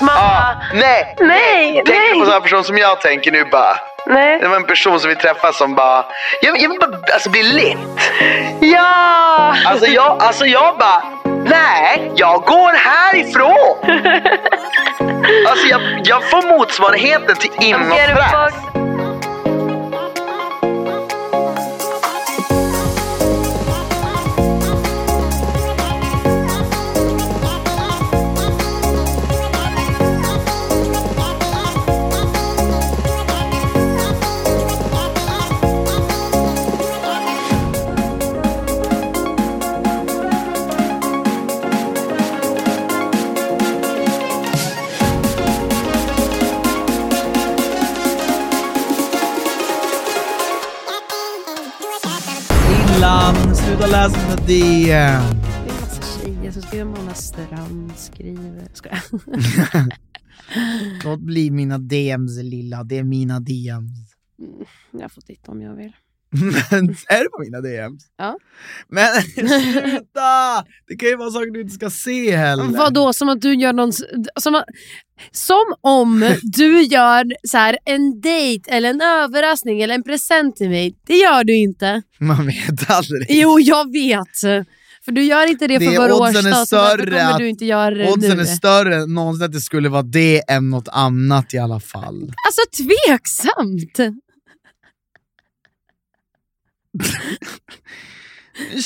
Ah, nej! Nej, Tänker du nej. på samma person som jag tänker nu bara? Nej. Det var en person som vi träffade som bara, jag, jag vill bara alltså, bli lit. Ja! Alltså jag, alltså jag bara, nej, jag går härifrån. Alltså jag, jag får motsvarigheten till Get a inåtpress. fuck. Finland, sluta läsa mina Det DM. är massa tjejer som skriver Mona Strand skriver. Ska jag? Låt bli mina DMs lilla, det är mina DMs. jag får titta om jag vill. Men är det på mina DMs? Ja. Men sluta! Det kan ju vara saker du inte ska se heller. Vadå, som att du gör någon... Som, att- som om du gör så här, en dejt eller en överraskning eller en present till mig. Det gör du inte. Man vet aldrig. Jo, jag vet. För du gör inte det för Det- vår oddsen är årsdag, så därför större kommer att- du inte göra det Oddsen nu. är större än någonsin att det skulle vara det än något annat i alla fall. Alltså tveksamt!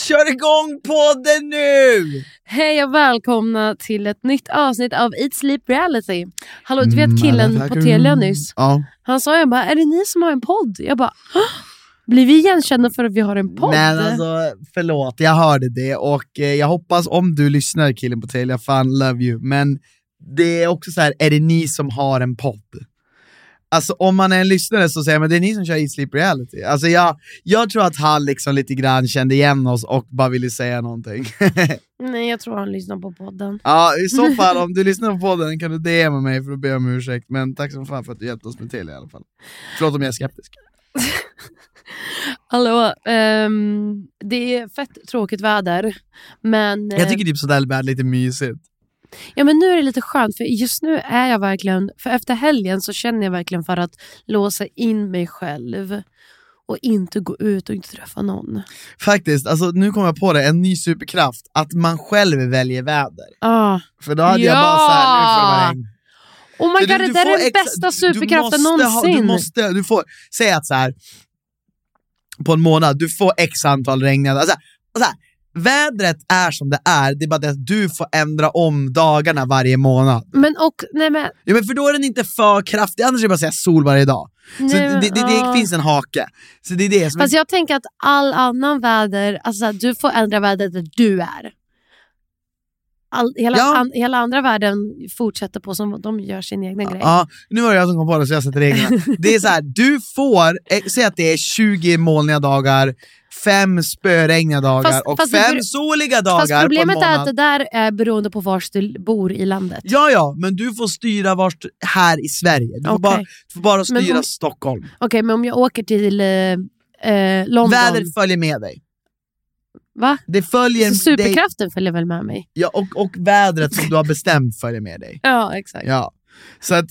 Kör igång podden nu! Hej och välkomna till ett nytt avsnitt av Eat Sleep Reality. Hallå, du Mm, vet killen på Motherfucker. Telia nyss? Ja. Han sa jag bara, är det ni som har en podd? Jag bara, "Hå? blir vi igenkända för att vi har en podd? Men alltså, förlåt, jag hörde det och eh, jag hoppas om du lyssnar killen på Telia, fan love you. Men det är också så här, är det ni som har en podd? Alltså om man är en lyssnare så säger man, det är ni som kör Eat Sleep Reality. Alltså jag, jag tror att han liksom lite grann kände igen oss och bara ville säga någonting. Nej, jag tror han lyssnar på podden. ja, i så fall om du lyssnar på podden kan du DMa mig för att be om ursäkt. Men tack så fan för att du hjälpte oss med Telia i alla fall. Förlåt om jag är skeptisk. Hallå, ehm, det är fett tråkigt väder. Men, eh, Jag tycker typ sådär bad lite mysigt. Ja men nu är det lite skönt för just nu är jag verkligen, för efter helgen så känner jag verkligen för att låsa in mig själv och inte gå ut och inte träffa någon. Faktiskt, alltså, nu kom jag på det, en ny superkraft, att man själv väljer väder. Ah. För då hade jag Ja! bara såhär, nu får det vara regn. Oh my Så god, det där får är den exa- bästa du- superkraften du måste någonsin. Ha, du måste, du får, säg att så här på en månad, du får x antal regnade, alltså, så här, vädret är som det är, det är bara det att du får ändra om dagarna varje månad. Men och, nej men. Ja, men för då är den inte för kraftig, annars är det bara att säga sol varje dag. Nej, Så men, det, det, det, ah. finns en hake. Så det är det som är Fast jag tänker att all annan väder, alltså så här, du får ändra vädret där du är. All, hela, Ja. an, hela andra världen fortsätter på som de gör sin egna grej. Ja, nu var det jag som kom på det så jag sätter reglerna. Det är så här, du får, eh, säg att det är 20 molniga dagar, fem spöregniga dagar Fast- och fast det fem ber- soliga Fast dagar problemet på en är att månad. det där är beroende på var du bor i landet. Ja, ja, men du får styra vart här i Sverige. Du får, Okej. bara, du får bara styra om- Stockholm. Okej, men om jag åker till eh, eh, London. Vädret följer med dig. Va? Det följer Så dig superkraften följer väl med mig? ja, och, och vädret som du har bestämt följer med dig. Ja, exakt. Ja. Så att,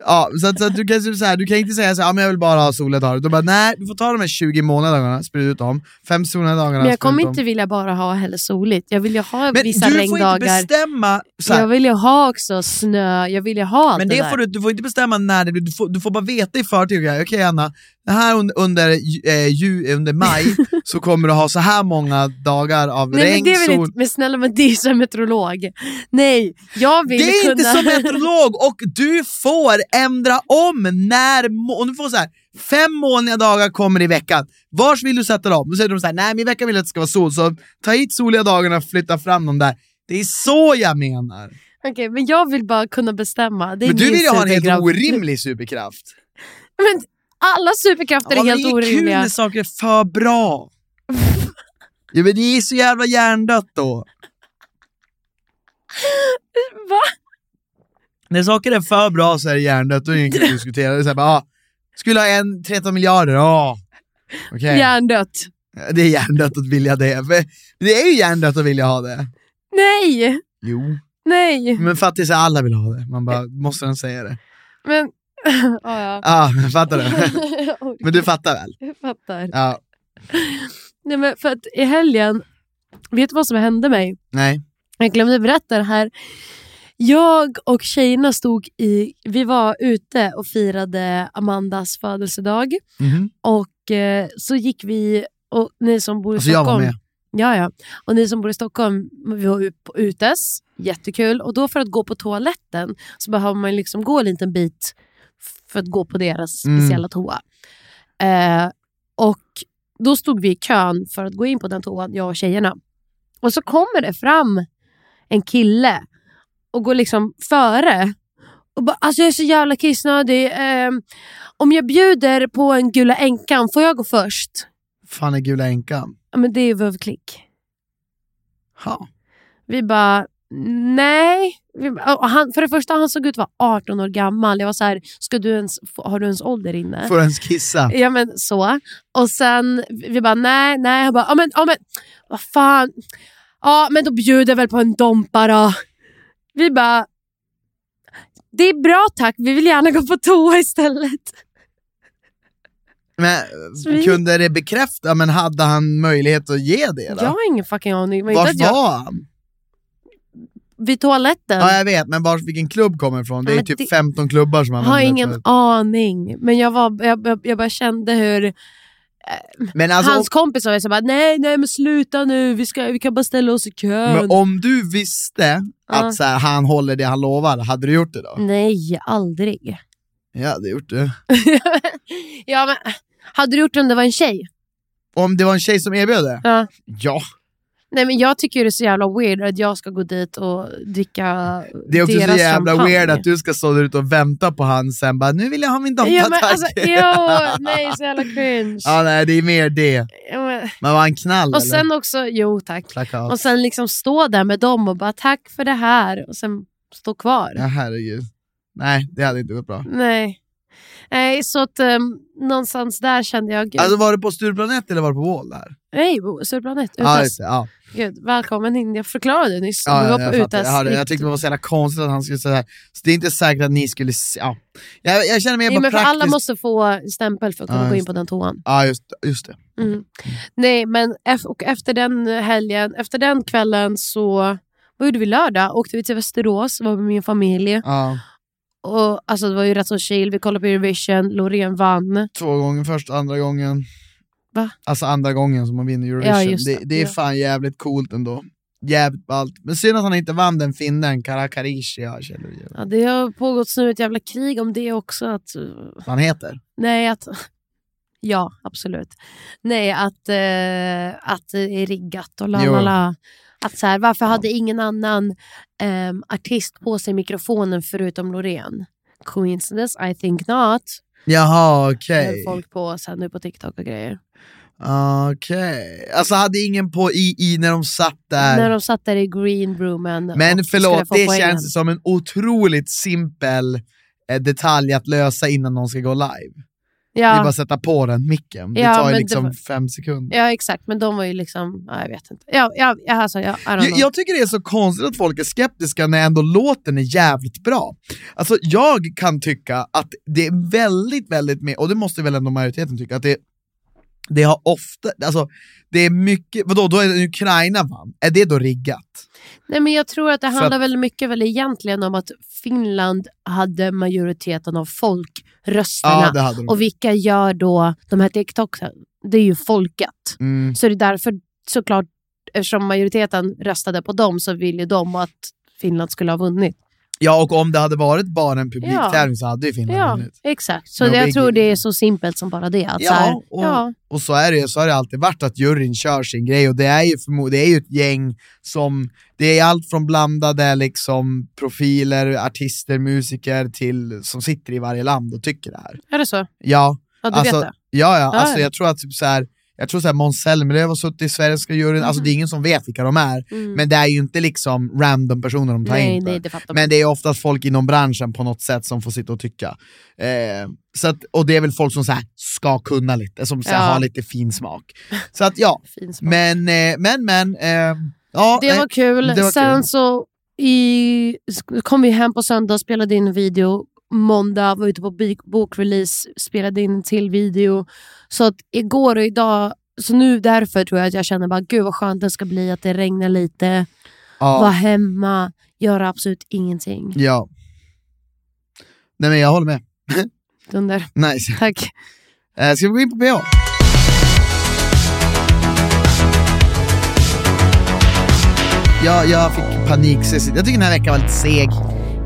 Ja, så att, så att du, kan, typ så här, du kan inte säga så här, ja, men jag vill bara ha soliga dagar. Då bara, nej, du får ta de här 20 månaderna, sprid ut dem. Fem soliga dagarna, Men jag sprid kommer ut dem. inte vilja bara ha heller soligt. Jag vill ju ha Men vissa du får inte regndagar. bestämma, så här, Jag vill ju ha också snö. Jag vill ju ha allt men det, det där. får du, du får inte bestämma när det blir, du får, du får bara veta i förtid, okej Anna, det här un, under, ju- eh, ju, under maj så kommer du ha så här många dagar av Nej, men regn, det vill sol. inte, men snälla men det är som meteorolog. Nej, jag vill Det är kunna... inte som meteorolog och du får ändra om när, må- om du får så här, fem måniga dagar kommer i veckan, vars vill du sätta dem? Då säger de så här, nej min vecka vill att det ska vara sol, så ta hit soliga dagarna och flytta fram dem där. Det är så jag menar. Okej, men jag vill bara kunna bestämma. Det är Men du min vill ju ha en helt superkraft. orimlig superkraft. Men alla superkrafter Ja, är men helt det är kul orimliga. när saker är för bra. ja, men det är så jävla hjärndött då. Va? När saker är för bra så är det hjärndött, då är det inget att diskutera. Det är så här, bara, ah, skulle ha en 13 miljarder, ja. Okej, Hjärndött. det är hjärndött att vilja det. För Det är ju hjärndött att vilja ha det. Nej, Jo. Eh. nej. Men fattigt så alla vill ha det. Man bara, måste de säga det? Men... ja, ja. Ja, ah, fattar du? Men du fattar väl? Jag fattar. Ja, Nej, men för att i helgen, vet du vad som hände mig? nej. Jag glömde berätta det här. Jag och tjejerna stod i, vi var ute och firade Amandas födelsedag. Mhm. Och eh, så gick vi, och ni som bor i Alltså jag var Stockholm. med. Ja, ja. Och ni som bor i Stockholm, vi var ut på Utes, jättekul. Och då för att gå på toaletten så behöver man liksom gå en liten bit för att gå på deras Mm. speciella toa. Eh, och då stod vi i kön för att gå in på den toan, jag och tjejerna. Och så kommer det fram en kille och går liksom före. Och bara, alltså jag är så jävla kissnödig. Eh, om jag bjuder på en Gula Änkan, får jag gå först? Fan är Gula Änkan? Ja, men det är ju vövklick. Ja. Vi bara, nej. Vi bara, och han, för det första, han såg ut att vara 18 år gammal. Jag var så här, ska du ens, få- har du ens ålder inne? Får du ens kissa? Ja men så. Och sen, vi bara, nej, nej. Han bara, ja men, ja men, vad fan. Ja men då bjuder jag väl på en Dompa då. Vi bara, det är bra tack, vi vill gärna gå på toa istället. Men eh, Så vi- kunde det bekräfta, men hade han möjlighet att ge det då? Jag har ingen fucking aning. Men inte Vart att jag, var han? vid toaletten. Ja jag vet, men var, vilken klubb kommer ifrån? Det Ja, är men typ det- 15 klubbar som Jag han har använder ingen för- aning. Men jag, var, jag, jag, jag bara kände hur Men alltså, hans kompis var så bara, nej, nej men sluta nu, vi, ska, vi kan bara ställa oss i om, kön. men om du visste att Ja. Mm. så här, han håller det han lovar, hade du gjort det då? Nej, aldrig. Jag hade gjort det. ja, men, hade du gjort det om det var en tjej? Om det var en tjej som erbjöd det? Ja. Ja. Nej, men jag tycker det är så jävla weird att jag ska gå dit och dricka Det är också deras så jävla champagne. weird att du ska stå där ute och vänta på han sen bara, nu vill jag ha min dampa Ja, men, tack. alltså, jo, nej, så jävla cringe. ja, nej, det är mer det. Ja, men, Men var han knall och eller? sen också, jo tack. Plakat. Och sen liksom stå där med dem och bara tack för det här och sen stå kvar. Ja, herregud. Nej, det hade inte gått bra. Nej. Nej, så att um, någonstans där kände jag, gud, Alltså var det på Stureplan 1 eller var det på Wall där? nej, bo- Surplanet, Ja, Utas. just det, ja. gud, välkommen in. Jag förklarade det nyss, Ja, vi var jag på fattar. jag, Utas. hörde det. jag tyckte det var så jävla konstigt att han skulle säga det här. Så det är inte säkert att ni skulle... se- Ja. Jag, jag känner mig Nej, bara men för praktiskt... alla måste få stämpel för att kunna Ja, gå in just på den toan. Ja, just, just det. Mm. Nej, men ef- och efter den helgen, efter den kvällen så, vad gjorde vi lördag? Åkte vi till Västerås, var med min familj. Ja. Och, alltså, det var ju rätt så chill, vi kollade på Eurovision, Loreen vann. Två gånger först, andra gången. Va? Alltså andra gången som man vinner Ja, Eurovision. just det, det. det är Ja. fan jävligt coolt ändå. Jävligt ballt. Men synd att han inte vann den finnen, Karakarishi. Ja, känner du Ja, det har pågått nu ett jävla krig om det också. Att, eh, vad han heter. nej, att... Ja, absolut. Nej, att, eh, att det är riggat och la, Jo. la, la. Att så här, varför hade ingen annan ehm, artist på sig mikrofonen förutom Loreen? Coincidence? I think not. Jaha, okej. Höll folk på så här, nu på TikTok och grejer. Okej. Alltså hade ingen på i, i när de satt där? När de satt där i green roomen. Men och skulle förlåt, få det poängen. känns som en otroligt simpel eh, detalj att lösa innan någon ska gå live. Det Ja. är bara att sätta på den micken. Det Ja, tar men ju det liksom var- fem sekunder. Ja, exakt. Men de var ju liksom... Ja, jag vet inte. Ja, ja, ja, alltså, ja, I don't Jag, know. jag tycker det är så konstigt att folk är skeptiska när ändå låten är jävligt bra. Alltså jag kan tycka att det är väldigt, väldigt med, och det måste väl ändå majoriteten tycka, att det, det har ofta, alltså det är mycket, vadå, då är det Ukraina vann, är det då riggat? Nej, men jag tror att det För handlar att- väldigt mycket väl egentligen om att Finland hade majoriteten av folkrösterna. Ja, det hade de. och vilka gör då de här TikToksen? Det är ju folket. Mm. Så det är därför såklart, eftersom majoriteten röstade på dem så ville ju de att Finland skulle ha vunnit. Ja, och om det hade varit bara en publiktävling så hade ju Finland Ja, vunnit. exakt. Så No jag biggie, tror det är liksom. så simpelt som bara det. Att Ja, så här, och- ja, Och så är det ju, så har det alltid varit att juryn kör sin grej och det är ju, förmo- det är ju ett gäng som, det är allt från blandade liksom profiler, artister, musiker till som sitter i varje land och tycker det här. är det så? Ja, Ja, du alltså, vet det. ja, ja, Ja, alltså ja. jag tror att typ så här, jag tror så här Måns Zelmerlöw har suttit i svenska juryn, alltså det är ingen som vet vilka de är, Mm. men det är ju inte liksom random personer de tar nej, in. på. nej, det fattar man. Men det är oftast folk inom branschen på något sätt som får sitta och tycka. Eh, så att, och det är väl folk som så här, ska kunna lite, som så här, Ja. har lite fin smak. Så att ja, Fin smak. men eh, men, men eh, ja, det nej, var kul. det var Sen kul. så i, kom vi hem på söndag och spelade in video. Måndag var ute på bi- bokrelease, spelade in en till video. Så att igår och idag, så nu därför tror jag att jag känner bara gud vad skönt det ska bli att det regnar lite. Vara ja, hemma, göra absolut ingenting. ja. Nej men jag håller med. Dunder. Nice. Tack. Eh, ska vi gå in på PH? Ja, jag fick panik. Cecilia. Jag tycker den här veckan var lite seg.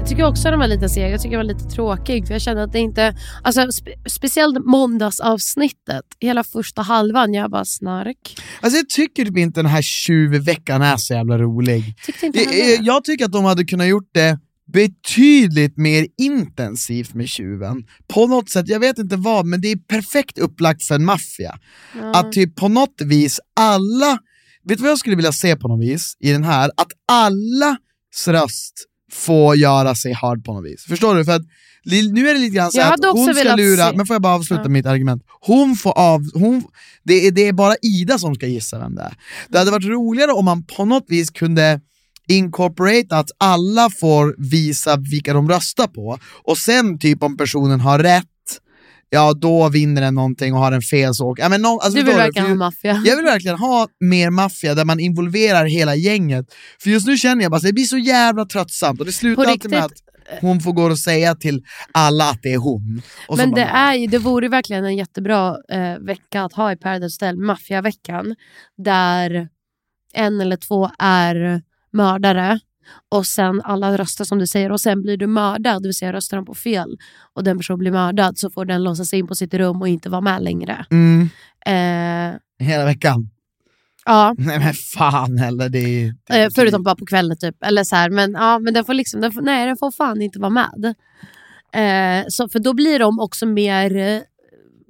Jag tycker också den var lite seg. Jag tycker den var lite tråkig. För jag kände att det inte... Alltså, spe, speciellt måndagsavsnittet. Hela första halvan. Jag bara snark. Alltså jag tycker typ inte den här tjuvveckan är så jävla rolig. Tyckte inte heller Jag, jag tycker att de hade kunnat gjort det betydligt mer intensivt med tjuven. På något sätt, jag vet inte vad, men det är perfekt upplagt för en maffia. Ja. Att typ på något vis alla, vet du vad jag skulle vilja se på något vis i den här? Att allas röst får göra sig hörd på något vis. Förstår du? För att li- nu är det lite grann så Jag här hade att hon också ska velat lura, se- men får jag bara avsluta Ja. mitt argument? Hon får av, hon, det, är, det är bara Ida som ska gissa vem det är. Det hade varit roligare om man på något vis kunde incorporate att alla får visa vilka de röstar på och sen typ om personen har rätt, ja då vinner den någonting och har den fel så åker... Ja, men någon, alltså, Du vill förstår verkligen För- ha maffia. jag vill verkligen ha mer maffia där man involverar hela gänget. För just nu känner jag bara att det blir så jävla tröttsamt och det slutar På alltid med att riktigt. eh, hon får gå och säga till alla att det är hon. Och så Men bara, det, är, ju- det vore ju verkligen en jättebra eh, vecka att ha i Paradise Hotel, maffiaveckan. Där en eller två är mördare och sen alla röstar som du säger och sen blir du mördad, det vill säga röstar de på fel och den personen blir mördad så får den låsas in på sitt rum och inte vara med längre. Mm, Eh, hela veckan. ja, Nej men fan heller, det är... det är- eh, förutom bara på kvällen typ. Eller så här, men ja, men den får liksom, den får, nej den får fan inte vara med. Eh, så, för då blir de också mer eh,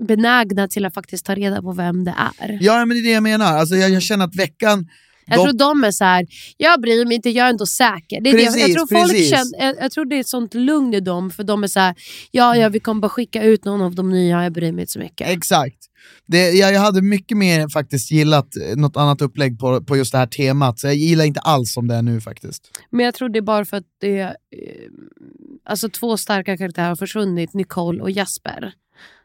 benägna till att faktiskt ta reda på vem det är. Ja men det är det jag menar, alltså, jag, jag känner att veckan... Jag de- tror de är så här, jag bryr mig inte, jag är ändå säker. Det är det. Jag, Precis, tror folk precis. känner, jag, jag tror det är ett sånt lugn i dem, för de är så här, ja, ja vi kommer bara skicka ut någon av de nya, jag bryr mig inte så mycket. Exakt. Det, jag, jag hade mycket mer faktiskt gillat eh, något annat upplägg på, på just det här temat, så jag gillar inte alls som det är nu faktiskt. Men jag tror det är bara för att det är, eh, alltså två starka karaktärer har försvunnit, Nicole och Jasper.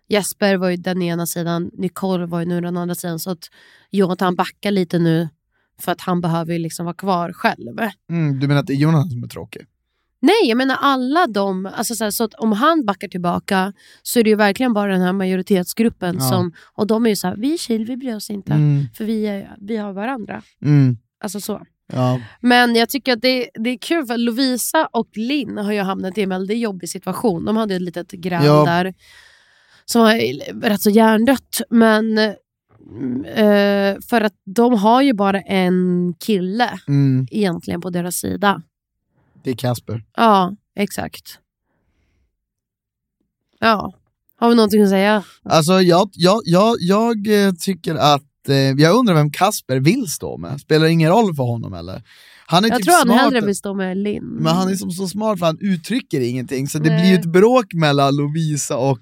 Jasper var ju den ena sidan, Nicole var ju nu den andra sidan, så att Jonathan backar lite nu för att han behöver ju liksom vara kvar själv. Mm, du menar att det är Jonas som är tråkig? Nej, jag menar alla de. Alltså så, här, så att om han backar tillbaka så är det ju verkligen bara den här majoritetsgruppen Ja. som... Och de är ju så här, vi är chill, vi bryr oss inte. Mm, För vi, är, vi har varandra. mm, Alltså så. ja. Men jag tycker att det, det är kul för Lovisa och Linn har ju hamnat i en väldigt jobbig situation. De hade ett litet gräl Ja. där som var rätt så hjärndött. Men mm, eh, för att de har ju bara en kille Mm, egentligen på deras sida. det är Casper. Ja, exakt. Ja. Har vi någonting att säga? Alltså jag, jag, jag, jag eh, tycker att, eh, jag undrar vem Kasper vill stå med. Spelar det ingen roll för honom eller? Han är Jag typ tror han smart, hellre vill stå med Linn. Men han är som så smart för han uttrycker ingenting, så det Nej. blir ju ett bråk mellan Lovisa och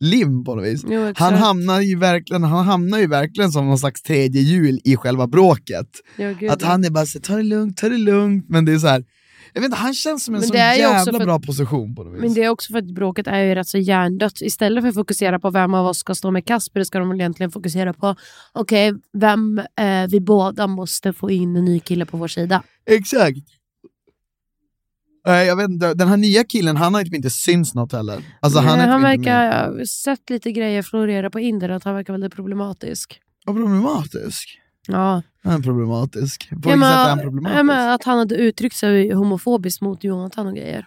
lim på något vis. Jo, Han exakt. hamnar, ju verkligen, han hamnar ju verkligen som någon slags tredje hjul i själva bråket. Ja, gud. Att han är bara så här, ta det lugnt, ta det lugnt. Men det är så här, jag vet inte, han känns som en Men så det är ju jävla också för- bra position på något vis. Men det är också för att bråket är ju rätt så hjärndött. Istället för att fokusera på vem av oss ska stå med Kasper ska de väl egentligen fokusera på okej, vem eh, vi båda måste få in en ny kille på vår sida. Exakt. Nej, jag vet inte, den här nya killen, han har ju typ inte syns något heller. Alltså, han, Men är typ Eh, han inte verkar med. jag har sett lite grejer florera på internet. Han verkar väldigt problematisk. Och problematisk. Ja. Han är problematisk. På vilket Ja, sätt men- är han ja, problematisk? men att han hade uttryckt sig homofobiskt mot Jonathan och grejer.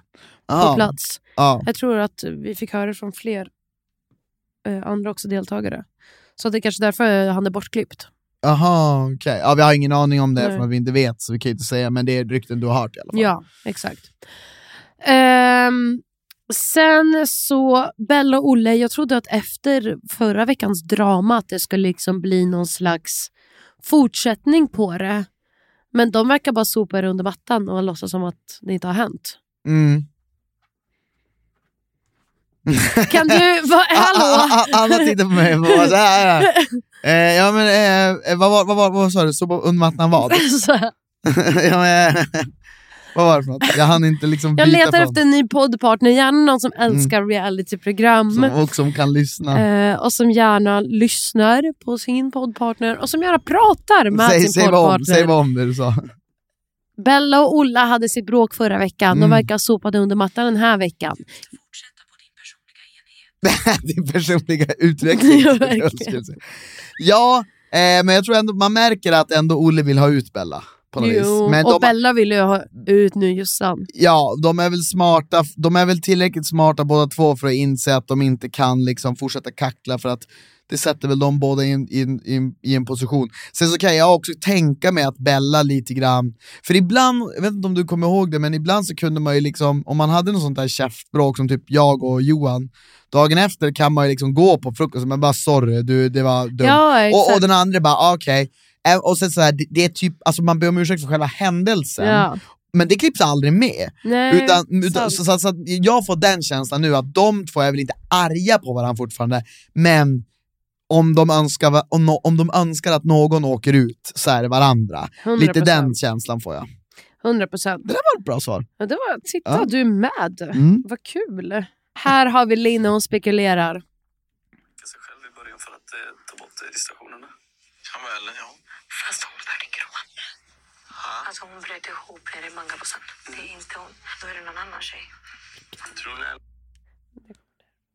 På ja, plats. ja. Jag tror att vi fick höra från fler eh, andra också deltagare. Så det är kanske därför han är bortklippt. Aha, okej. Ja, vi har ingen aning om det Nej. eftersom att vi inte vet, så vi kan ju inte säga, men det är rykten du har hört i alla fall. Ja, exakt. Ehm, sen så, Bella och Olle, jag trodde att efter förra veckans drama att det skulle liksom bli någon slags fortsättning på det. Men de verkar bara sopa det under mattan och låtsas som att det inte har hänt. Mm. Kan du, va, Ah, hallå? ah, ah, Anna tittar på mig och bara så här. Eh, ja, men, eh, eh, vad, var- vad, var- vad sa du, så på undermattan vad? Så här. ja, men, eh, vad var det för något? Jag hann inte liksom Jag byta letar fram. efter en ny poddpartner, gärna någon som älskar realityprogram. som, och som kan lyssna. Eh, och som gärna lyssnar på sin poddpartner och som gärna pratar med säg, sin säg, vad om, poddpartner. säg vad om det du sa. Bella och Olla hade sitt bråk förra veckan. Mm. De verkar ha sopat det under mattan den här veckan. Din personliga utveckling. Ja, skulle jag verkligen. skulle säga. ja eh, men jag tror ändå man märker att ändå Olle vill ha ut Bella. På något vis. Men och de, Bella ville ju ha ut nu Jossan. ja, de är väl smarta, de är väl tillräckligt smarta båda två för att inse att de inte kan liksom fortsätta kackla för att det sätter väl de båda i en, i, en, i, en, i en position. Sen så kan jag också tänka mig att Bella lite grann, för ibland, jag vet inte om du kommer ihåg det, men ibland så kunde man ju liksom, om man hade något sånt där käftbråk som typ jag och Johan, dagen efter kan man ju liksom gå på frukosten men bara sorry, du, det var dumt. Ja, och, och exakt. den andra bara "Ah, okej. Eh, Och sen så här, det, det är typ, alltså man ber om ursäkt för själva händelsen, ja. men det klipps aldrig med. Nej, Utan, utan, sant. så, så, så att jag får den känslan nu att de två är väl inte arga på varandra fortfarande, men om de, önskar, va- om, no, om de önskar att någon åker ut så är det varandra. 100%. Lite den känslan får jag. 100 procent. Det var ett bra svar. Ja, det var, titta, Ja. du är med. Mm. Vad kul. Här har vi Lina, hon spekulerar. sig själv i början för att eh, ta bort eh, distraktionerna. Ja, men, ja. Fast hon började gråta. Alltså hon bröt ihop nere i Mangabosan. Det är inte hon. Då är det någon annan tjej. Tror ni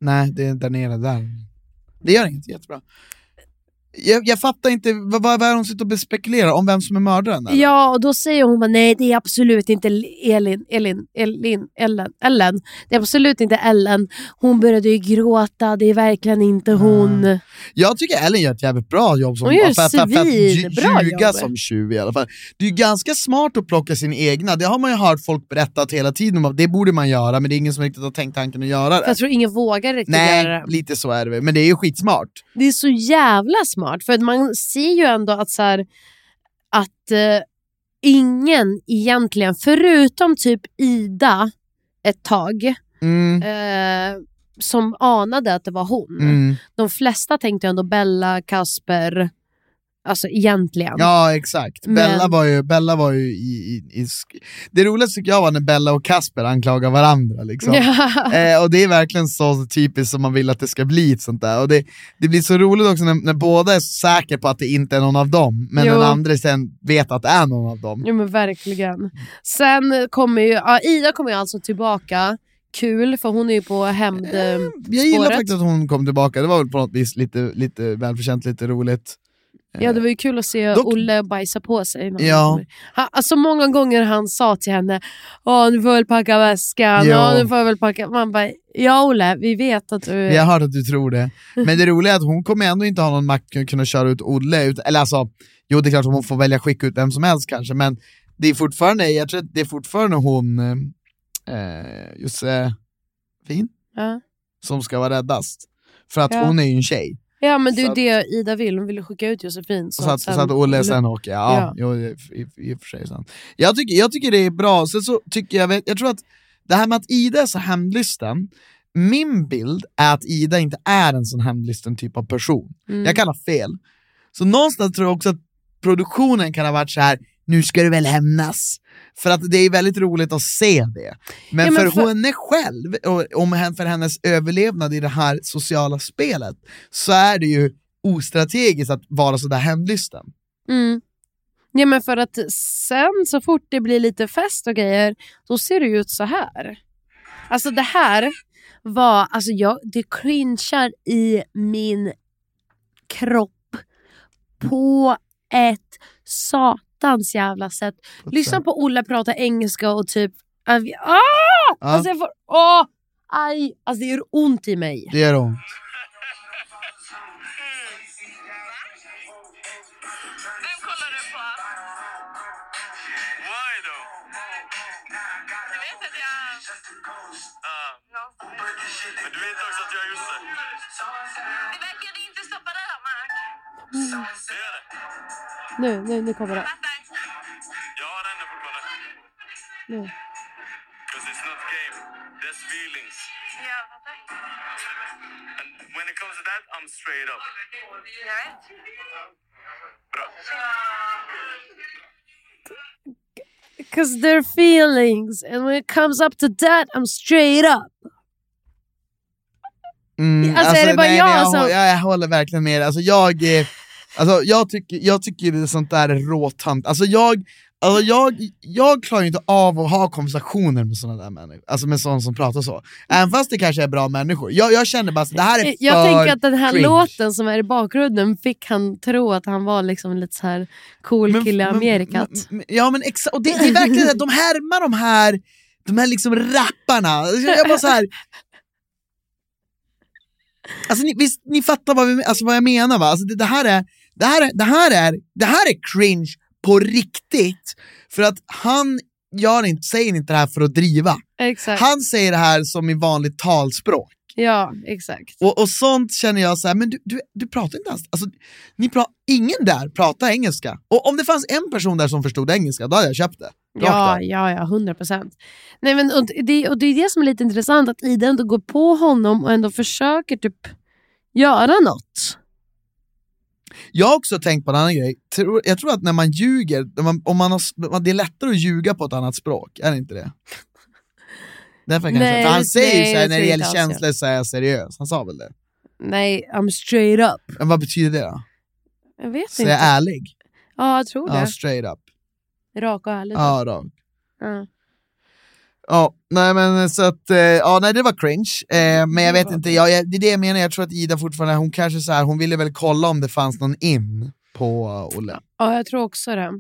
Nej, det är där nere. Där. Det gör inget, jättebra. Jag, jag fattar inte, vad, vad är det hon sitter och spekulerar om vem som är mördaren? eller? Ja, och då säger hon bara, nej det är absolut inte Elin, Elin, Elin, Ellen, Ellen. Det är absolut inte Ellen. Hon började ju gråta, det är verkligen inte hon. Mm. Jag tycker Ellen gör ett jävligt bra jobb som Hon gör för, för, för att lju- svinbra ljuga jobb. som tjuv i alla fall. Det är ju ganska smart att plocka sin egna, det har man ju hört folk berätta att hela tiden, om. det borde man göra men det är ingen som riktigt har tänkt tanken att göra För det. Jag tror ingen vågar riktigt göra Nej, det. lite så är det väl, men det är ju skitsmart. Det är så jävla smart, för att man ser ju ändå att, så här, att eh, ingen egentligen, förutom typ Ida ett tag, Mm. eh, som anade att det var hon. Mm. De flesta tänkte ju ändå Bella, Kasper, alltså egentligen. Ja, exakt. Men- Bella var ju, Bella var ju i, i, i... sk- Det roligaste tycker jag var när Bella och Kasper anklagar varandra. Liksom. Ja. Eh, och det är verkligen så typiskt som man vill att det ska bli ett sånt där. Och det, det blir så roligt också när, när båda är säkra på att det inte är någon av dem, men Jo. den andra sen vet att det är någon av dem. Jo men verkligen. Sen kommer ju, ja, Ida kommer ju alltså tillbaka. Kul, för hon är ju på hämnd... eh, Jag gillar spåret. faktiskt att hon kom tillbaka, det var väl på något vis lite, lite välförtjänt, lite roligt. Ja, det var ju kul att se Eh, Dock- Olle bajsa på sig. när han Ja. kommer. Han, alltså många gånger han sa till henne, Åh, nu får jag väl packa väskan, Ja. ja. nu får jag väl packa... Man bara, ja Olle, vi vet att du... Jag har hört att du tror det. Men det roliga är att hon kommer ändå inte ha någon makt att kunna köra ut Olle. Ut, eller alltså, jo det är klart att hon får välja att skicka ut vem som helst kanske, men det är fortfarande, jag tror att det är fortfarande hon, eh, eh, just eh, Fin? Ja. som ska vara räddast. För att Ja. hon är ju en tjej. Ja men det är ju Så att- det Ida vill, hon ville skicka ut Josefin. Så, att, så att Olle sen åker. Ja, mm. Ja. Jo, i, i, i och för sig sant. Jag tycker, jag tycker det är bra. Sen så tycker jag, jag tror att det här med att Ida är så hämndlysten, Min bild är att Ida inte är en sån hemlysten typ av person. Mm. Jag kan ha fel. Så någonstans tror jag också att produktionen kan ha varit så här. nu ska du väl hämnas. För att det är väldigt roligt att se det. Men, Ja, men för, för- henne själv, och om hen- för hennes överlevnad i det här sociala spelet, så är det ju ostrategiskt att vara sådär hemlysten. Mm. Ja, men för att sen så fort det blir lite fest och grejer, då ser det ju ut så här. Alltså det här var, alltså jag, det cringear i min kropp på ett satans jävla sätt. Lyssna på Olle prata engelska och typ, ah! Alltså jag får, åh! Aj, alltså det gör ont i mig. Det gör hon. Vem kollar du på? Why though? Du vet att jag... Ah, men du vet också att jag har gjort det. Det verkade inte stoppa det här, Mark. Det gör det. Nu, nu, nu kommer det. Fattar? Jag har henne fortfarande. Nu. Cause it's not game. There's feelings. Ja, fattar. And when it comes to that, I'm straight up. Jag vet. Bra. Because they're feelings. And when it comes up to that, I'm straight up. Mm, Alltså, är det bara jag jag, som- hå- jag, jag håller verkligen med dig. alltså, jag, eh, alltså, jag tycker, jag tycker det är sånt där är råtant. Alltså, jag, alltså, jag, jag klarar ju inte av att ha konversationer med såna där människor. Alltså med sådana som pratar så. Även fast det kanske är bra människor. Jag, jag känner bara att det här är för Eh, Jag tänker att den här cringe. låten som är i bakgrunden fick han tro att han var liksom lite så här cool kille i Amerikat. Men, men, ja men exakt, och det, det är verkligen att de härmar de här, de här liksom rapparna. Jag bara så här. Alltså ni, visst, ni fattar vad, vi, alltså, vad jag menar va? Alltså, det, det, här är, det, här är, det, här är, det här är cringe på riktigt. För att han gör inte, säger inte det här för att driva. exakt. Han säger det här som i vanligt talspråk. ja, exakt. Och, och sånt känner jag så här, men du, du, du pratar inte ens, alltså, ni pra, ingen där pratar engelska. Och om det fanns en person där som förstod engelska, då hade jag köpt det. Rakt Ja, av. ja, ja, hundra procent. Nej, men, och, det, och det är det som är lite intressant, att Ida ändå går på honom och ändå försöker typ göra något. Jag har också tänkt på en annan grej, Tror- jag tror att när man ljuger, när man, om man har, s- det är lättare att ljuga på ett annat språk, är det inte det? Därför kanske, Nej, för han säger ju nej, så här, jag när det tror gäller inte alls känslor så är jag seriös, han sa väl det? Nej, I'm straight up. Men vad betyder det då? Jag vet Så inte. jag är ärlig? Ja, jag tror Ja, det. straight up. Rak och ärlig. Ja, rakt. Ja. Ja, nej men så att, eh, ja nej det var cringe. Eh, Mm, men jag vet inte, jag, jag, det är det jag menar, jag tror att Ida fortfarande, hon kanske så här, hon ville väl kolla om det fanns någon in på eh, Olle. Ja, jag tror också det.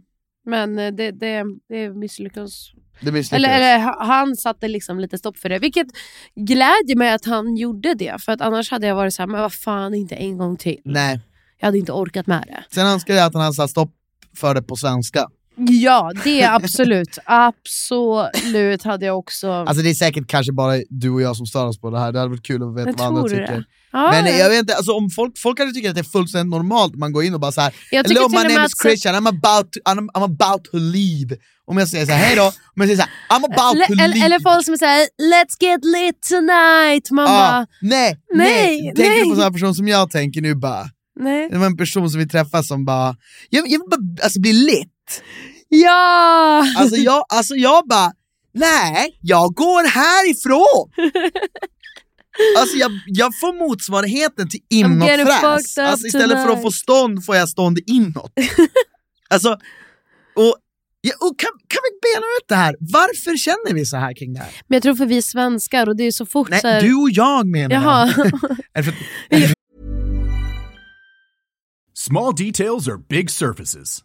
Men eh, det, det, det misslyckas. Det misslyckades. Eller, eller ha- han satte liksom lite stopp för det, vilket glädjer mig att han gjorde det. För att annars hade jag varit så här, men vad fan, inte en gång till. Nej, Jag hade inte orkat med det. sen önskar jag att han hade satt stopp för det på svenska. Ja, det är absolut. absolut hade jag också... Alltså det är säkert kanske bara du och jag som stör oss på det här, det hade varit kul att veta Jag vad andra tror tycker. det. ja, Men eh, ja. jag vet inte, alltså om folk, folk kanske tycker att det är fullständigt normalt att man går in och bara så här. jag Hello, my och med name is att- Christian, I'm about, to, I'm, I'm about to leave. Om jag säger så här, hej då, om jag säger så här, I'm about to Eller, eller, leave. eller folk som säger “Let's get lit tonight”. Man Ah, bara, nej, nej, nej, Tänker du nej. på sån här person som jag tänker nu bara? nej. Det var en person som vi träffade som bara, jag, jag vill bara alltså, bli lit. Ja! Alltså jag, alltså jag bara, nej, jag går härifrån. Alltså jag, jag får motsvarigheten till getting inåtfräs. fucked up Alltså istället för att få tonight. stånd får jag stånd inåt. Alltså, och, ja, och kan, kan vi bena ut det här? Varför känner vi så här kring det här? Men jag tror för vi är svenskar och det är så fort så Nej, här, du och jag menar Jaha. jag. Är det för- Small details are big surfaces.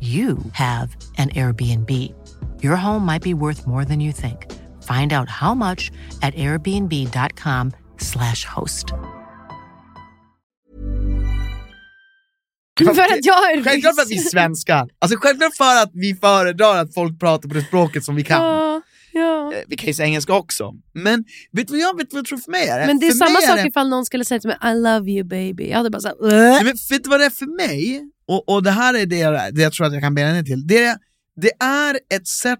you have an Airbnb. Your home might be worth more than you think. Find out how much at airbnb.com/slash host. För att jag är Självklart för att vi är svenskar. Alltså självklart för att vi föredrar att folk pratar på det språket som vi kan. Ja, ja. Eh, Vi kan ju säga engelska också. Men vet du vad jag, vet du vad jag tror för mig är? Men det är Eh, för samma mig sak det- ifall någon skulle säga till mig I love you baby. Jag hade bara "Äh?" såhär... Nej, men vet du vad det är för mig? Och, och det här är det jag, det jag tror att jag kan bena ner till. Det är, det är ett sätt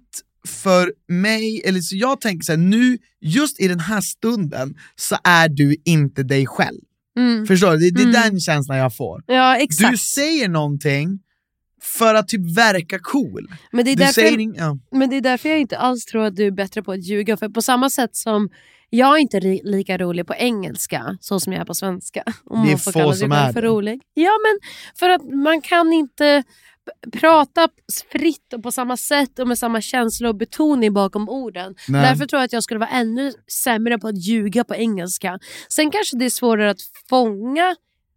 för mig, eller så jag tänker så här, nu, just i den här stunden, så är du inte dig själv. Mm. Förstår du? Det, det är Mm. den känslan jag får. Ja exakt. Du säger någonting för att typ verka cool. men, det är Du därför, säger ing- ja. men det är därför jag inte alls tror att du är bättre på att ljuga. För på samma sätt som jag är inte ri- lika rolig på engelska så som jag är på svenska. Om Det är man får få kalla sig som själv är för det. rolig. Ja men för att man kan inte p- prata fritt och på samma sätt och med samma känsla och betoning bakom orden. Nej. Därför tror jag att jag skulle vara ännu sämre på att ljuga på engelska. Sen kanske det är svårare att fånga.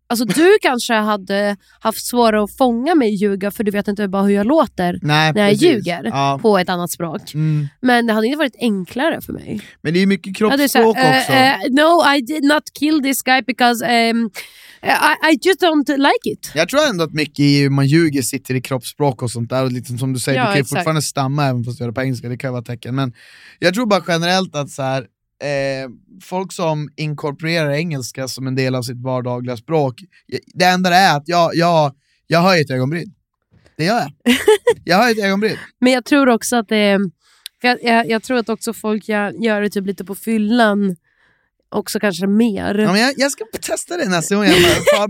Alltså du kanske hade haft svårare att fånga mig ljuga för du vet inte bara hur jag låter Nej, när jag precis. ljuger Ja. på ett annat språk. Mm. Men det hade inte varit enklare för mig. Men det är ju mycket Jag hade kroppsspråk sagt, eh, också. eh, no I did not kill this guy because um, I, I just don't like it. Jag tror ändå att mycket i hur man ljuger sitter i kroppsspråk och sånt där. Och liksom som du säger, Ja, du kan ju exakt. fortfarande stamma även fast du gör det på engelska, det kan ju vara ett tecken. Men jag tror bara generellt att så här, eh, folk som inkorporerar engelska som en del av sitt vardagliga språk, det enda det är att jag, jag, jag höjer ett ögonbryn. Det gör jag. Jag höjer ett ögonbryn. Men jag tror också att det för jag, jag, jag tror att också folk gör, gör det typ lite på fyllan också kanske mer. Ja, men jag, jag ska testa det nästa gång. Jag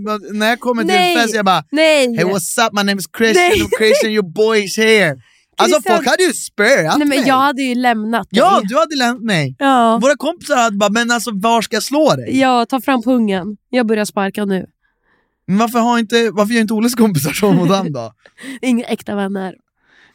bara, fan, när jag kommer till Nej. en fest, jag bara Nej! Hey what's up, my name is Christian, Nej. I'm Christian your boy is here. Alltså Christian. folk hade ju spöat Nej men mig. jag hade ju lämnat Ja, dig. du hade lämnat mig. Ja. Våra kompisar hade bara, men alltså var ska jag slå dig? ja, ta fram pungen. Jag börjar sparka nu. Men varför, har inte, varför gör inte Oles kompisar så mot honom då? Inga äkta vänner.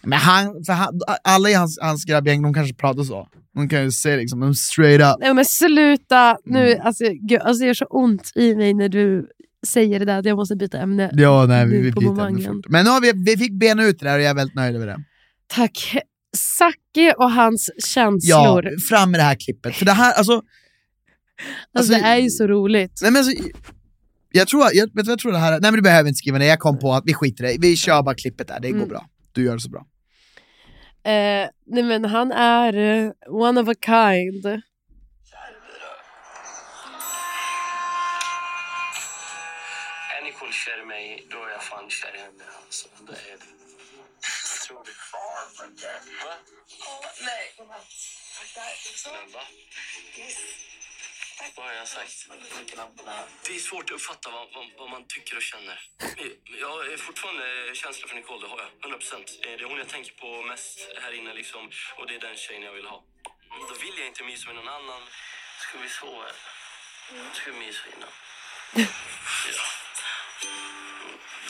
Men han, för han, alla i hans, hans grabbgäng, de kanske pratar så. De kan ju säga liksom, de straight up. Nej men sluta! Nu, Mm. alltså, gud, alltså det gör så ont i mig när du säger det där att jag måste byta ämne. Ja, nej, vi, Nu vi på byter ämne momangen. fort. Men nu har vi, vi fick bena ut det där och jag är väldigt nöjd över det. Tack. Sacke och hans Ja, känslor. fram med det här klippet. För det här, alltså, alltså, alltså- det är ju så roligt. nej men alltså, jag tror, jag, vet du vad jag tror det här är? Nej men du behöver inte skriva det, jag kom på att vi skiter i det. Vi kör bara klippet där, det går Mm. bra. Du gör det så bra. Eh, nej men han är eh, one of a kind. Är ni cool kär i mig, då är jag fan kär i henne. Alltså, det är det. Tror du? Va? Nej. Men va? Vad har jag sagt? Det är svårt att uppfatta vad, vad, vad man tycker och känner. Jag är fortfarande känsla för Nicole, det har jag. 100 procent. Det är hon jag tänker på mest här inne liksom. Och det är den tjejen jag vill ha. Då vill jag inte mysa med någon annan. Ska vi sova eller? Ska vi mysa innan? Ja.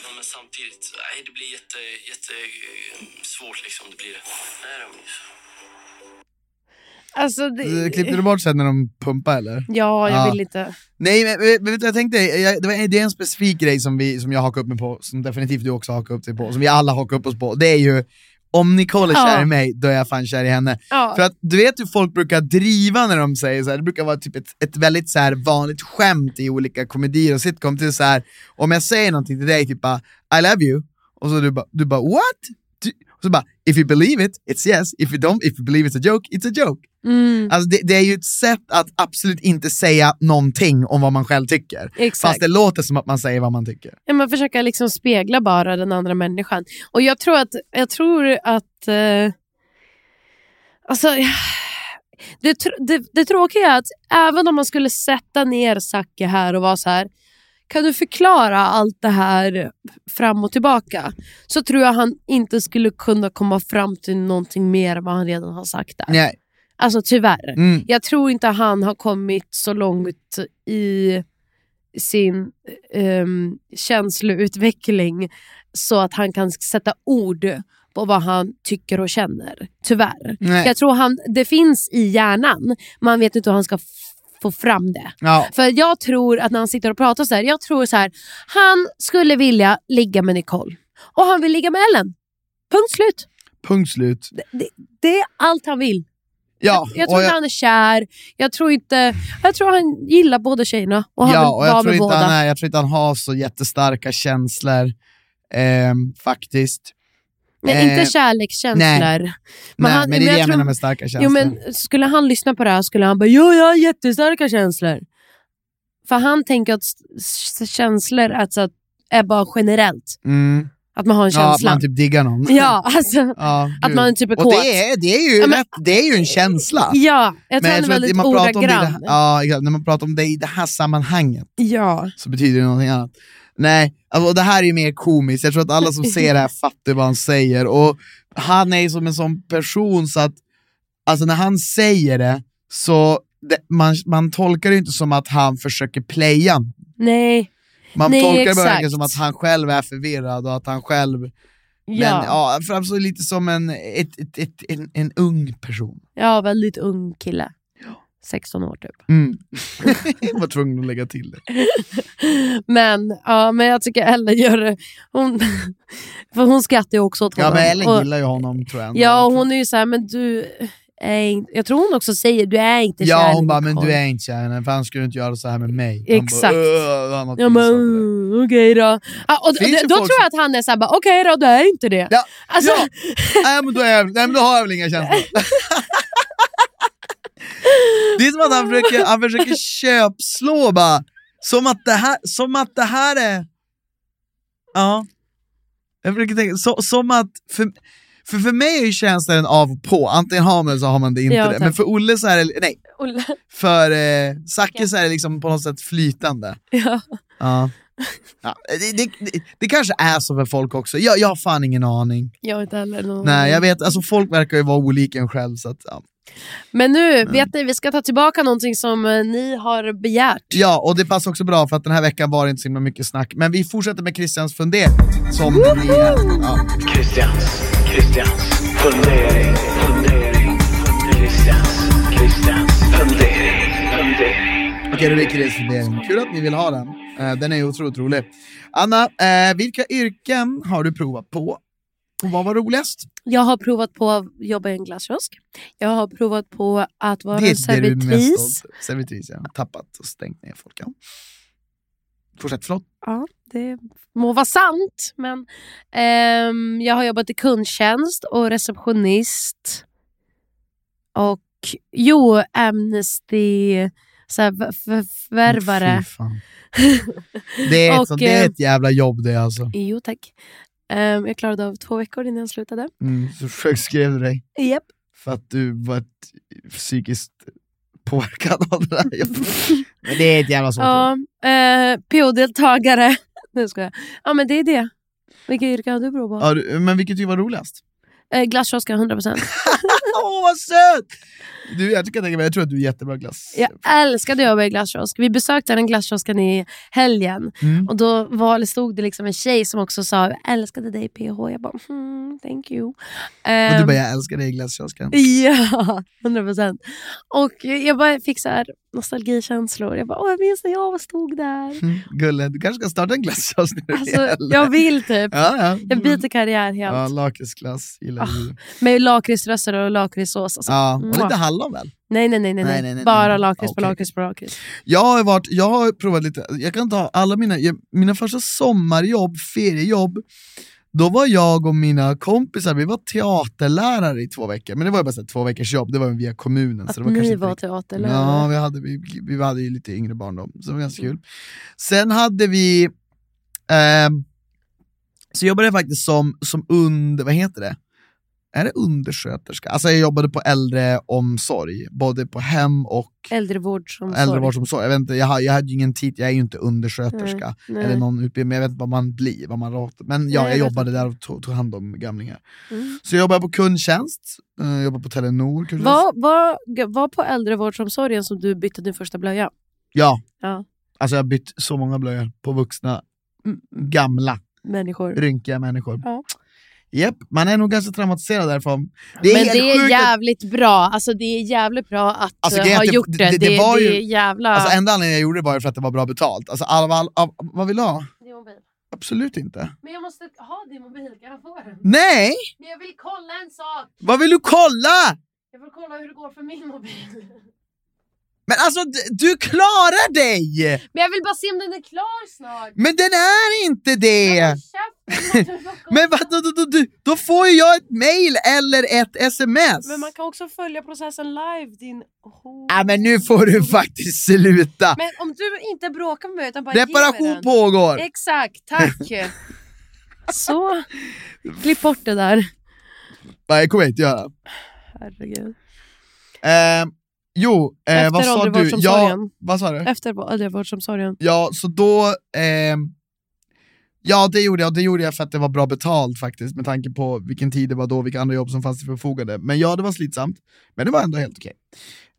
Ja, men samtidigt, nej, det blir jätte, jätte eh, svårt liksom. Det blir det. Nej, de är så. Alltså, det... Eh, Klippte du bort sen när de pumpade eller? Ja, jag Ja. vill inte. Nej, men, men, men vet du, jag tänkte, jag, det, var, det är en specifik grej som, vi, som jag hakar upp mig på, som definitivt du också hakar upp dig på, som vi alla hakar upp oss på. Det är ju, om Nicole är Ja. kär i mig, då är jag fan kär i henne. Ja. För att du vet hur folk brukar driva när de säger så här. det brukar vara typ ett, ett väldigt så här vanligt skämt i olika komedier och sitcom, till så här, om jag säger någonting till dig, typ bara, I love you, och så du bara, du bara what? Du, och så bara, if you believe it, it's yes, if you don't, if you believe it's a joke, it's a joke. Mm, Alltså det, det är ju ett sätt att absolut inte säga någonting om vad man själv tycker. exakt. Fast det låter som att man säger vad man tycker. Ja, man försöker liksom spegla bara den andra människan. Och jag tror att... Jag tror att eh, alltså, det, tr- det, det tråkiga är att även om man skulle sätta ner Zacke här och vara så här kan du förklara allt det här fram och tillbaka? Så tror jag han inte skulle kunna komma fram till någonting mer än vad han redan har sagt där. Nej. Alltså tyvärr. Mm. Jag tror inte han har kommit så långt i sin ehm, känsloutveckling så att han kan sätta ord på vad han tycker och känner. Tyvärr. Nej. Jag tror han, det finns i hjärnan, men han vet inte hur han ska f- få fram det. Ja. För jag tror att när han sitter och pratar så här, jag tror så här, han skulle vilja ligga med Nicole. Och han vill ligga med Ellen. Punkt slut. Punkt slut. Det, det är allt han vill. Ja, Jag och tror inte han är kär, jag tror, inte, jag tror han gillar båda tjejerna och han ja, vill och jag vara tror, med inte båda. han är, jag tror inte han har så jättestarka känslor, ehm, faktiskt. Men Eh, inte kärlekskänslor. nej. Men Nej, han- men det men är det jag jag tror- menar med starka känslor. Jo, men skulle han lyssna på det här skulle han bara “Jo, jag har jättestarka känslor”. För han tänker att s- s- känslor alltså, är bara generellt. mm. Att man har en Ja, att känsla. man typ diggar någon. Ja, alltså. Ja, Att gud. man typ är Och kåt. det är, det är ju, Ja, men- rätt, det är ju en känsla. Ja, jag tror Men han är att väldigt man pratar om det i det här- ordagrann. Ja, exakt. när man pratar om det i det här sammanhanget Ja. så betyder det någonting annat. Nej, alltså, det här är ju mer komiskt. Jag tror att alla som ser det här fattar vad han säger. Och han är ju som en sån person så att alltså, när han säger det så det, man, man tolkar det ju inte som att han försöker playa. Nej. Man Nej, tolkar det bara exakt. verkligen som att han själv är förvirrad och att han själv... Ja. Men ja, framstår lite som en, ett, ett, ett, en, en ung person. ja, väldigt ung kille. 16 år typ. Mm. jag var tvungen att lägga till det. Men, ja, men jag tycker Ellen gör det. Hon, för hon skrattar ju också åt Ja, honom. men Ellen Och- gillar ju honom tror jag. ändå. Ja, och hon är ju såhär, men du är inte... Jag tror hon också säger, du är inte kär ja, i hon bara, men Nicole." du är inte kär i henne, för han skulle inte göra så här med mig. Exakt. Han bara, "Åh", han har Ja, men tillsatt liksom det. mm, okej då. Ah, och, och, Finns det- ju då folk tror jag att han är såhär, bara, okej då, du är inte det. Ja, Alltså, ja. Nej, men då, är jag, nej, men då har jag väl inga känslor. det är som att han försöker, han försöker köpslå bara. Som att det här, som att det här är... Ja. Jag försöker tänka, så, som att... För, för, för mig är ju känslan en av och på, antingen har man det så har man det inte. Ja, det. tack. Men för Olle så är det, nej, Olle. för eh, Zacke så är det liksom på något sätt flytande. Ja. Ja. Ja, det, det, det, det kanske är så för folk också, jag, jag har fan ingen aning. Jag har inte heller någon... Nej, jag vet, alltså folk verkar ju vara olika en själv. Så att, ja. Men nu, vet ni, vi ska ta tillbaka någonting som eh, ni har begärt. ja, och det passar också bra för att den här veckan var det inte så himla mycket snack. Men vi fortsätter med Christians fundering. Som ni är. Ja. Christians, Christians, fundering, fundering, Christians, Christians, fundering, fundering. Okej, det blir Christians fundering. Kul att ni vill ha den. Eh, den är ju otroligt rolig. Anna, eh, vilka yrken har du provat på? Och vad var roligast? Jag har provat på att jobba i en glasskiosk. Jag har provat på att vara en det du är mest servitris. stolt över. Servitris, ja. Tappat och stängt ner folk. Ja. Fortsätt, förlåt. Ja, det må vara sant. Men ehm, jag har jobbat i kundtjänst och receptionist. Och jo, Amnesty, så här, v- v- Fy värvare. fan. Mm, Det är, ett, Och, sånt- det är eh, ett jävla jobb det alltså. Jo tack. Ehm, jag klarade av två veckor innan jag slutade. Mm, så sjukskrev du dig. Japp. för att du var ett- psykiskt påverkad av det där jobbet. Men det är ett jävla svårt jobb. Ja, eh, PO-deltagare. Nu ska jag. Ja men det är det. Vilka yrken har du provat på? Ja, du- men vilket typ var roligast? Eh, Glasskiosken 100%. Åh vad söt! Du, jag, tycker, jag tror att du är jättebra glass. Jag älskade att jobba i glasskiosk. Vi besökte den glasskiosken i helgen. Mm. Och då var, eller stod det liksom en tjej som också sa jag älskade dig PH. Jag bara mm, thank you. Och du Ehm, bara, jag älskar dig i glasskiosken. Ja, 100 procent. Och jag bara fick så här nostalgikänslor. Jag bara, åh jag minns när jag stod där. Mm, Gulle, du kanske ska starta en glasskiosk nu Alltså, eller? jag vill typ. Ja, ja. Jag byter karriär helt. Ja, lakritsglass Ah, gillar vi. Med lakritsröster och lakritssås. Alltså. Ja, och Mwah. lite hallon väl? Nej, nej, nej, nej, Nej, nej, nej, nej, Bara nej. lakrits på Okej. lakrits på lakrits. Jag har, ju varit, jag har provat lite, jag kan ta alla mina, jag, mina första sommarjobb, feriejobb, då var jag och mina kompisar, vi var teaterlärare i två veckor, men det var ju bara så här, två veckors jobb, det var ju via kommunen. Att så det var kanske ni inte var riktigt- teaterlärare. Ja, vi hade, vi, vi hade ju lite yngre barn då, så det var ganska Mm. kul. Sen hade vi, ehm, så jobbade jag faktiskt som, som und, vad heter det? Är det undersköterska? Alltså jag jobbade på äldreomsorg, både på hem och Äldrevårdsomsorg. äldrevårdsomsorg. Jag, vet inte, jag, har- jag hade ju ingen titel, jag är ju inte undersköterska Mm, Nej, nej. eller någon utbildning, men jag vet inte vad man blir. Vad man, rakt- men Nej, ja, jag jag vet jobbade där och tog, tog hand om gamlingar. Mm. Så jag jobbade på kundtjänst, eh, jobbade på Telenor. kanske. Vad var, var på äldrevårdsomsorgen som du bytte din första blöja? Ja, Ja, alltså jag har bytt så många blöjor på vuxna, mm, gamla, människor. rynkiga människor. Ja. Japp, man är nog ganska traumatiserad därifrån. Men helt det är sjukt att- jävligt bra. Alltså det är jävligt bra att Alltså, eh, grejen är ha att det- gjort det. det- Det, det var det ju- är jävla... Alltså enda anledningen jag gjorde det var ju för att det var bra betalt. Alltså, all, all, all, vad vill du ha? Din mobil. Absolut inte. Men jag måste ha din mobil, kan jag få den? Nej! Men jag vill kolla en sak! Vad vill du kolla? Jag vill kolla hur det går för min mobil. Men alltså d- du klarar dig! Men jag vill bara se om den är klar snart! Men den är inte det! Käften, låt mig bara kolla. Men vad, då, då, då, då, då får ju jag ett mail eller ett sms! Men man kan också följa processen live, din hora. Ja, men nu får du faktiskt sluta! Men om du inte bråkar med mig utan bara ger mig Reparation den. pågår! Exakt, tack! Så, klipp bort det där. Nej, det kommer jag inte göra. Herregud. Eh, jo, eh, Efter vad sa du? Ja, åldervårdsomsorgen. vad sa du? Efter äldrevårdsomsorgen. Ja, så då... ehm, ja, det gjorde jag. Det gjorde jag för att det var bra betalt faktiskt, med tanke på vilken tid det var då, vilka andra jobb som fanns till förfogande. Men ja, det var slitsamt. Men det var ändå helt okej.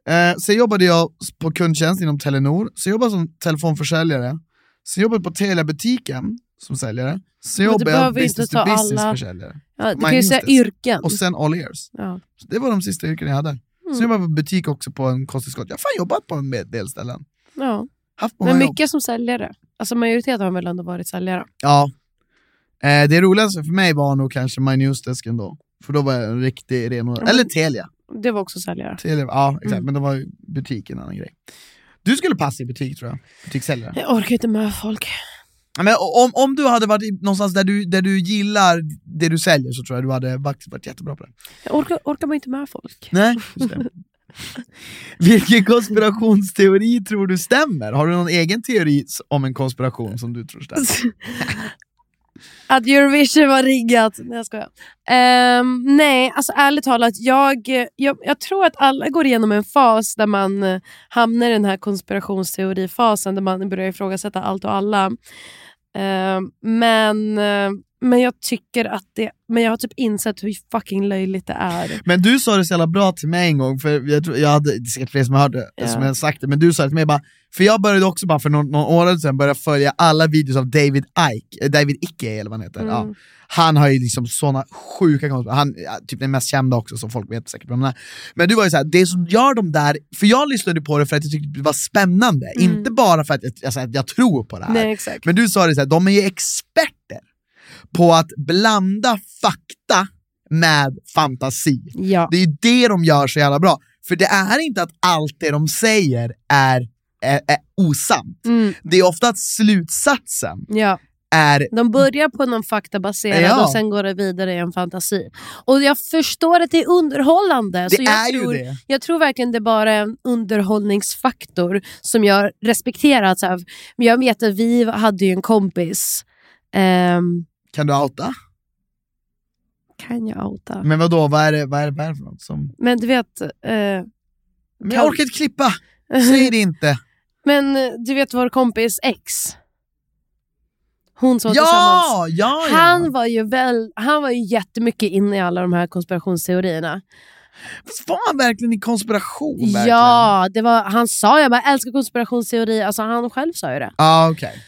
Eh, sen jobbade jag på kundtjänst inom Telenor, så jag jobbade som telefonförsäljare. Sen jobbade jag på Telia-butiken som säljare. Men du Sen jobbade jag behöver ju inte business to ta alla- business-försäljare. Ja, du Man kan ju minns säga det. yrken. Och sen all ears. Ja. Så det var de sista yrken jag hade. Mm. Sen jobbade jag på butik också på en kosttillskott. Jag har fan jobbat på en med- del ställen. Ja. Haft många Men jobb. mycket som säljare. Alltså majoriteten har väl ändå varit säljare. Ja. Eh, det roligaste för mig var nog kanske My Newsdesk ändå. För då var jag en riktig renodlad... men- Eller Telia. Det var också säljare. Telia ja, exakt. Mm. Men det var ju butik en annan grej. Du skulle passa i butik tror jag. Butikssäljare. Jag orkar inte med folk. Ja. Men o- om, om du hade varit i- någonstans där du, där du gillar det du säljer så tror jag du hade varit, varit jättebra på det. Jag orkar, orkar man inte med folk. Nej, just det. Vilken konspirationsteori tror du stämmer? Har du någon egen teori s- om en konspiration som du tror stämmer? Att Eurovision var riggat. Nej jag skojar. Um, nej, alltså ärligt talat. Jag, jag, jag tror att alla går igenom en fas där man eh, hamnar i den här konspirationsteorifasen där man börjar ifrågasätta allt och alla. Ehm, men, eh, men jag tycker att det... Men jag har typ insett hur fucking löjligt det är. Men du sa det så jävla bra till mig en gång, för jag, tror, jag hade det är säkert fler som hörde Ja. som jag sagt det, men du sa det till mig bara, för jag började också bara för någon, någon år sedan börja följa alla videos av David Ike, eh, David Icke eller vad han heter. Ja. Mm. Han har ju liksom såna sjuka konspirationer, han ja, typ den mest kända också som folk vet säkert vem han är. Men du var ju såhär, det som gör de där, för jag lyssnade på det för att jag tyckte det var spännande, Mm. inte bara för att jag, alltså, att jag tror på det här. Nej, exakt. Men du sa det så här, de är ju experter på att blanda fakta med fantasi. Ja. Det är ju det de gör så jävla bra. För det är inte att allt det de säger är, är, är osant. Mm, Det är ofta att slutsatsen ja. är... De börjar på någon faktabaserad Ja. och sen går det vidare i en fantasi. Och jag förstår att det är underhållande. Det så Alltså, jag är tror, ju det. Jag tror verkligen det bara är en underhållningsfaktor som jag respekterar. Så här, men jag vet att vi hade ju en kompis. Ehm, Kan du outa? kan jag outa? Men vadå, vad är det, vad är det, vad är det för något som... Men du vet... eh, Men jag Kan- orkar inte klippa! Säg det inte! men eh, du vet vår kompis ex? Hon som var tillsammans. Ja, ja, ja! Han var, ju väl, han var ju jättemycket inne i alla de här konspirationsteorierna. Fast Var han verkligen i konspiration? Verkligen? Ja, det var, han sa jag bara älskar konspirationsteorier. Alltså han själv sa ju det. Ah, okej.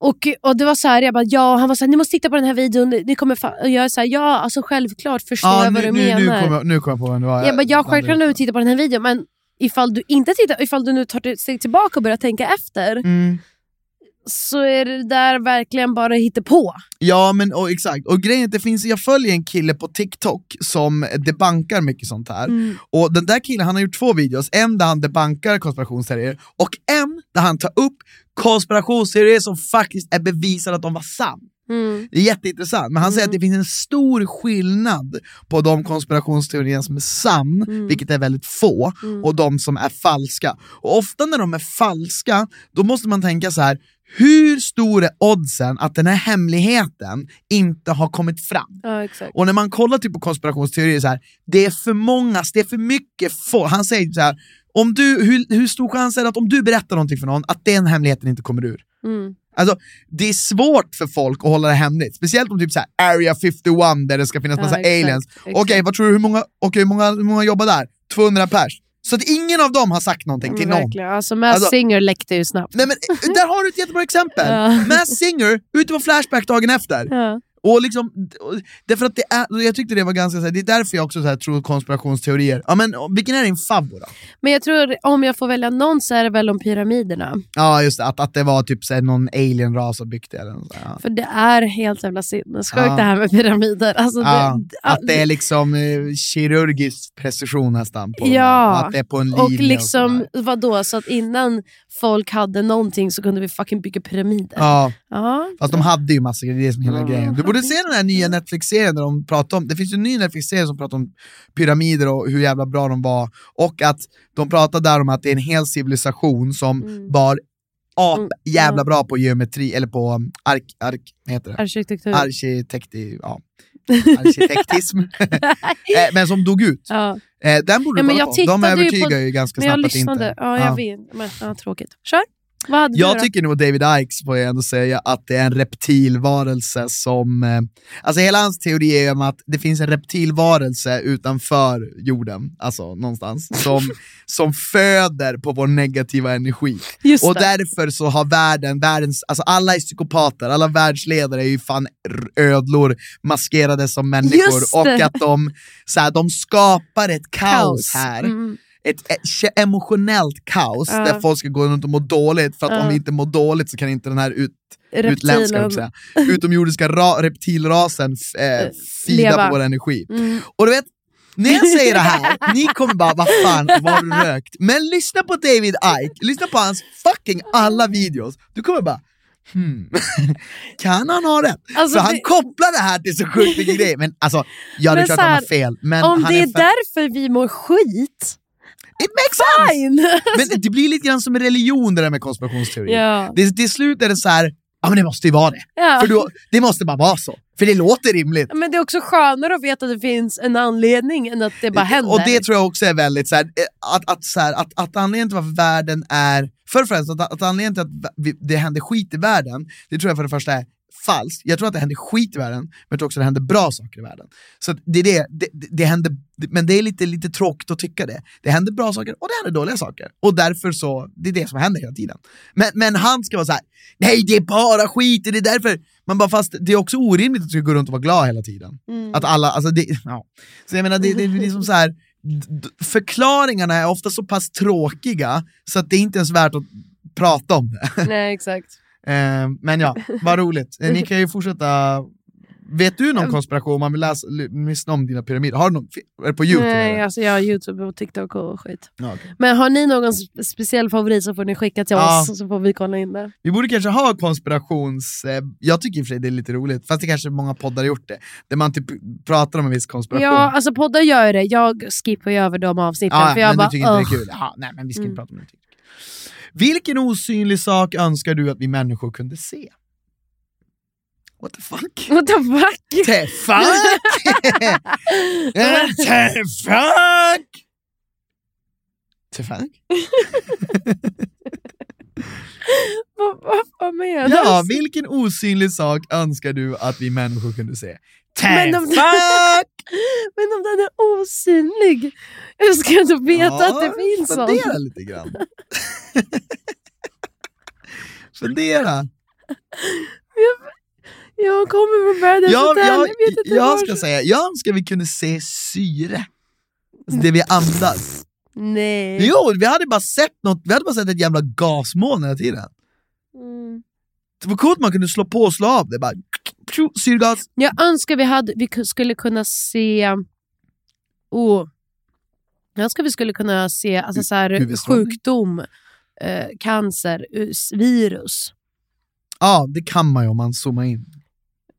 Och, och det var så här, jag bara ja, han var så här, ni måste titta på den här videon. Ni kommer fa-" och jag är så här, ja alltså självklart förstår Ah, jag vad nu, du nu, menar. nu, kommer jag, nu kommer jag på vem det var. jag bara ja, självklart när du tittar på den här videon. Men ifall du inte tittar, ifall du nu tar ett steg tillbaka och börjar tänka efter. Mm. Så är det där verkligen bara hittepå. Ja men och, exakt, och grejen är att det finns, jag följer en kille på TikTok som debankar mycket sånt här. Och den där killen han har gjort två videos, en där han debankar konspirationsteorier och en där han tar upp konspirationsteorier som faktiskt är bevisade att de var sann. Mm. Det är jätteintressant, men han säger att det finns en stor skillnad på de konspirationsteorier som är sann, vilket är väldigt få, och de som är falska. Och ofta när de är falska, då måste man tänka så här, hur stor är oddsen att den här hemligheten inte har kommit fram? Ja, exakt. Och när man kollar typ på konspirationsteorier, så här, det är för många, det är för mycket folk. Han säger så här, om du, hur, hur stor chans är det att om du berättar någonting för någon, att den hemligheten inte kommer ur? Mm. Alltså, det är svårt för folk att hålla det hemligt, speciellt om typ så här Area 51 där det ska finnas Ja, massa exakt, aliens. exakt. Okej, vad tror du, hur många, okay, hur, många, hur många jobbar där? 200 pers. Så att ingen av dem har sagt någonting till någon. Verkligen. Alltså, Mass Alltså- Singer läckte ju snabbt. Nej, men, eh, där har du ett jättebra exempel! Ja. Mass Singer, ute på Flashback dagen efter. Ja. Och liksom, och- därför att det är, jag tyckte det var ganska, så här, det är därför jag också så här, tror konspirationsteorier. Ja men och vilken är din favorit då? Men jag tror, om jag får välja någon så är det väl om pyramiderna. Ja just det, att, att det var typ så här, någon alien-ras som byggt det eller något sånt, ja. För det är helt jävla sinnessjukt Ja. det här med pyramider. Alltså, Ja, det, att det är liksom eh, kirurgisk precision nästan på de Ja. här, och att det är på en linje. och liksom, sådär. vadå, så att innan folk hade någonting så kunde vi fucking bygga pyramider. Ja, Ja. fast de hade ju massa grejer, det är som hela Ja. grejen. Du borde se den här nya Netflix-serien där de pratar om, det finns ju en ny Netflix-serie som pratar om pyramider och hur jävla bra de var. Och att de pratar där om att det är en hel civilisation som Mm. var ap Mm, jävla ja. bra på geometri, eller på um, ark, ark, vad heter det? Arkitektur. Arkitekti, ja. arkitektism. Eh, men som dog ut. ja. Eh, Den borde Ja, du men kolla jag på. De tittade ju på- övertygar ju ganska Men snabbt jag att det inte... lyssnade. Ja, jag Ja. vet. Men, ja, tråkigt. Kör. Vad hade Jag du då? tycker nog David Ikes får jag ändå säga att det är en reptilvarelse som... eh, Alltså hela hans teori är ju om att det finns en reptilvarelse utanför jorden, alltså någonstans, som, som föder på vår negativa energi. Just Och det. därför så har världen, världens, alltså alla är psykopater, alla världsledare är ju fan r- ödlor maskerade som människor Just och det. att de, så här, de skapar ett kaos, här Mm. ett ett ke- emotionellt kaos Ja. där folk ska gå runt och må dåligt för att om Ja. vi inte mår dåligt så kan inte den här ut, Reptilen. utländska, höll jag på att säga, utomjordiska ra, reptilrasen f, eh, fida leva. på vår energi. Mm. Och du vet, när jag säger det här, ni kommer bara vad fan, vad har du rökt? Men lyssna på David Icke, lyssna på hans fucking alla videos, du kommer bara Hmm. Kan han ha rätt? Alltså, för han det- kopplar det här till så sjukt mycket grejer, men alltså, ja det Men är klart så han har här, fel, men Om han det är för... därför vi mår skit, It makes sense! fine! Men det blir lite grann som en religion det där med konspirationsteorier. ja. Det, till slut är det så här, ja men det måste ju vara det. Ja. För då, det måste bara vara så. För det låter rimligt. Men det är också skönare att veta att det finns en anledning än att det bara händer. Och det tror jag också är väldigt så här, eh, att, att, så här, att, att anledningen till varför världen är, för det första, att, att anledningen till att vi- det händer skit i världen, det tror jag för det första är falskt. Jag tror att det händer skit i världen, men jag tror också att det händer bra saker i världen. Så att det är det, det, det, det händer, men det är lite, lite tråkigt att tycka det. Det händer bra saker och det händer dåliga saker. Och därför så, det är det som händer hela tiden. Men, men han ska vara så här, nej det är bara skit, det är därför. Man bara, fast det är också orimligt att du ska gå runt och vara glad hela tiden. Att alla, alltså det, ja. Så jag menar, det, det är liksom så här, d- d- förklaringarna är ofta så pass tråkiga så att det är inte ens värt att prata om det. Nej, exakt. Eh, men ja, vad roligt. Eh, Ni kan ju fortsätta. Vet du någon konspiration om man vill läsa, l- lyssna om dina pyramider? Har du någon, fi- är det på Youtube? Nej, eller? alltså jag har Youtube och TikTok och skit. Ja, okej. Men har ni någon spe- speciell favorit så får ni skicka till Ja. oss så får vi kolla in det. Vi borde kanske ha konspirations... Eh, jag tycker i och för sig det är lite roligt, fast det kanske många poddar har gjort det. Där man typ pratar om en viss konspiration. Ja, alltså poddar gör ju det. Jag skippar ju över de avsnitten. Ja, typ. för jag men bara, du tycker inte det är "Ugh." kul? Ja, nej, men vi ska Mm. inte prata om det. Vilken osynlig sak önskar du att vi människor kunde se? What the fuck? What the fuck? the fuck? What the fuck? The fuck? vad, vad, vad menas? Ja, vilken osynlig sak önskar du att vi människor kunde se? Men om- Men om den är osynlig, hur ska jag då veta att det finns sånt? Fundera lite grann. fundera. Jag kommer från världens jag, hotell, jag, jag vet inte jag var- ska säga, jag önskar vi kunde se syre. Alltså det vi andas. Nej. Jo, vi hade bara sett något, vi hade bara sett ett jävla gasmoln hela tiden. Mm. Det var coolt man kunde slå på och slå av det. Bara, pju, syrgas. Jag önskar vi, hade, vi ku- skulle kunna se... Oh, jag önskar vi skulle kunna se alltså, så här, huvudstrålning. sjukdom, eh, cancer, us- virus. Ja, det kan man ju om man zoomar in.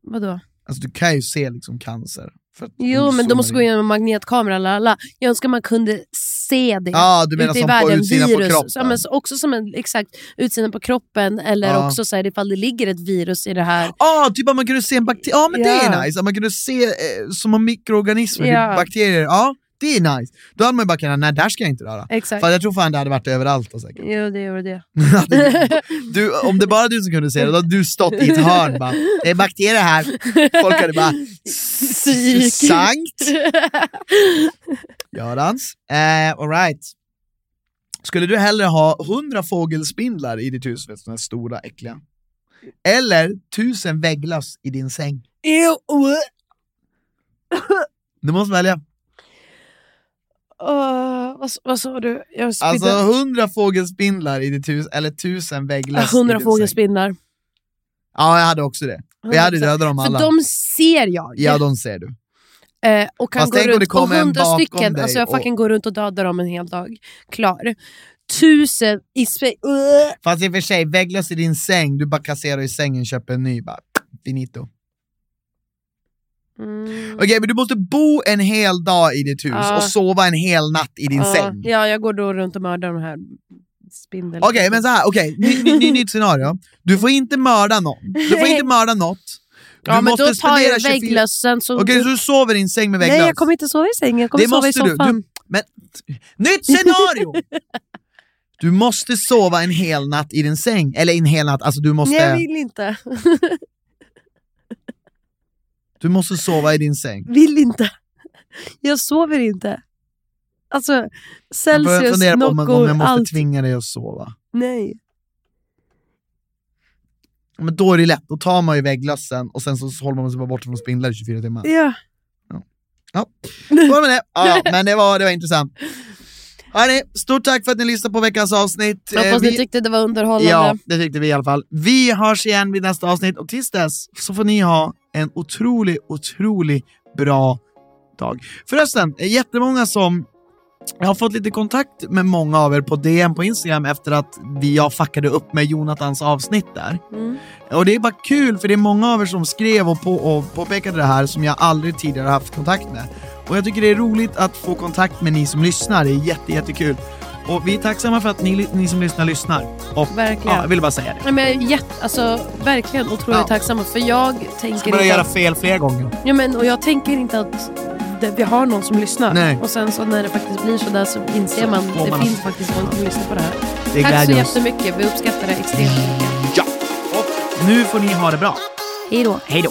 Vadå? Alltså du kan ju se liksom cancer. För att om Jo, du men zoomar de måste in. gå igenom en magnetkamera. Lala. Jag önskar man kunde se det Ja, du menar ute i som på världen. utsidan på virus. kroppen. Ja, men så- också som en exakt utsidan på kroppen eller Ja. också så här, ifall det ligger ett virus i det här. Ja, typ att man kunde se en bakterie. Ja, men det Ja. är nice. Att man kunde se eh, som en mikroorganism, Ja. typ bakterier. Ja, det är nice. Då hade man ju bara kunnat, nej, där ska jag inte röra. Exakt. För jag tror fan det hade varit överallt då, säkert. Jo, det gjorde det. Du, om det bara du som kunde se det, då hade du stått i ett hörn bara, det är bakterier här. Folk hade bara, Psyk. sankt Görans. Eh, all right. Skulle du hellre ha 100 fågelspindlar i ditt hus, vet, såna här stora äckliga? Eller 1000 vägglöss i din säng? Ew. uh. Du måste välja. Åh, vad, s- vad sa du? Jag spydde. Alltså 100 fågelspindlar i ditt hus eller 1000 vägglöss i 100 din säng? fågelspindlar. Ja, jag hade också det. Och jag hade dödat dem alla. För de ser jag. Ja, de ser du. Eh, och kan Fast gå tänk om runt, det kommer en och hundra bakom stycken, dig alltså jag och- fucking går runt och dödar dem en hel dag. Klar. Tusen i uh. Sverige. Ugh. Fast i och för sig, vägglöss i din säng, du bara kasserar i sängen, köper en ny, bara finito. Mm. Okej, men du måste bo en hel dag i ditt hus Ja. och sova en hel natt i din Ja, säng. Ja, jag går då runt och mördar de här spindeln. Okej, men så här, okej, ny, ny, ny, nytt scenario. Du får inte mörda någon. Du får inte mörda något. Du ja, men måste då tar spendera jag 24 vägglössen. Så... Okej, så du sover i din säng med vägglöss? Nej, jag kommer inte sova i sängen. Jag kommer Det sova i måste du. soffan. Du- Men, nytt scenario! Du måste sova en hel natt i din säng. Eller en hel natt, alltså du måste... Nej, jag vill inte. Du måste sova i din säng. Vill inte. Jag sover inte. Alltså, Jag börjar Celsius, fundera på om, man- om Nocco, jag måste allt. tvinga dig att sova. Nej. Men då är det lätt, då tar man ju vägglössen och sen så håller man sig bara borta från spindlar i 24 timmar. Ja. Ja. Så var det med det. Ja, ja, men det var, det var intressant. Hörrni, stort tack för att ni lyssnade på veckans avsnitt. Eh, Hoppas vi- ni tyckte det var underhållande. ja, det tyckte vi i alla fall. Vi hörs igen vid nästa avsnitt och tills dess så får ni ha en otrolig, otrolig bra dag. Förresten, eh, jättemånga som jag har fått lite kontakt med många av er på DM på Instagram efter att vi, jag fuckade upp med Jonathans avsnitt där. Mm. Och det är bara kul för det är många av er som skrev och, på, och påpekade det här som jag aldrig tidigare haft kontakt med. Och jag tycker det är roligt att få kontakt med ni som lyssnar, det är jätte, jättekul. Och vi är tacksamma för att ni, ni som lyssnar lyssnar. Och Verkligen. Ja, jag ville bara säga det. Nej, men jag är jätte, alltså, verkligen otroligt Ja. tacksamma för jag tänker, Börja inte göra att, fel fler gånger. ja, men, och jag tänker inte att det, vi har någon som lyssnar. Nej. Och sen så när det faktiskt blir så där så inser man får det man- finns faktiskt folk som lyssnar på det här. Det Tack så glädjer oss. Mm. jättemycket, vi uppskattar det extremt mycket. Ja. Och nu får ni ha det bra. Hej då. Hej då.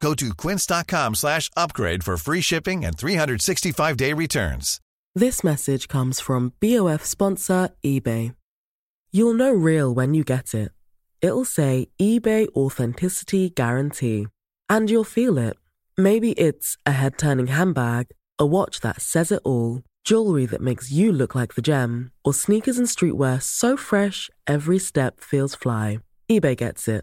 Go to quince.com slash upgrade for free shipping and 365-day returns. This message comes from BOF sponsor eBay. You'll know real when you get it. It'll say eBay Authenticity Guarantee. And you'll feel it. Maybe it's a head turning handbag, a watch that says it all, jewelry that makes you look like the gem, or sneakers and streetwear so fresh every step feels fly. eBay gets it.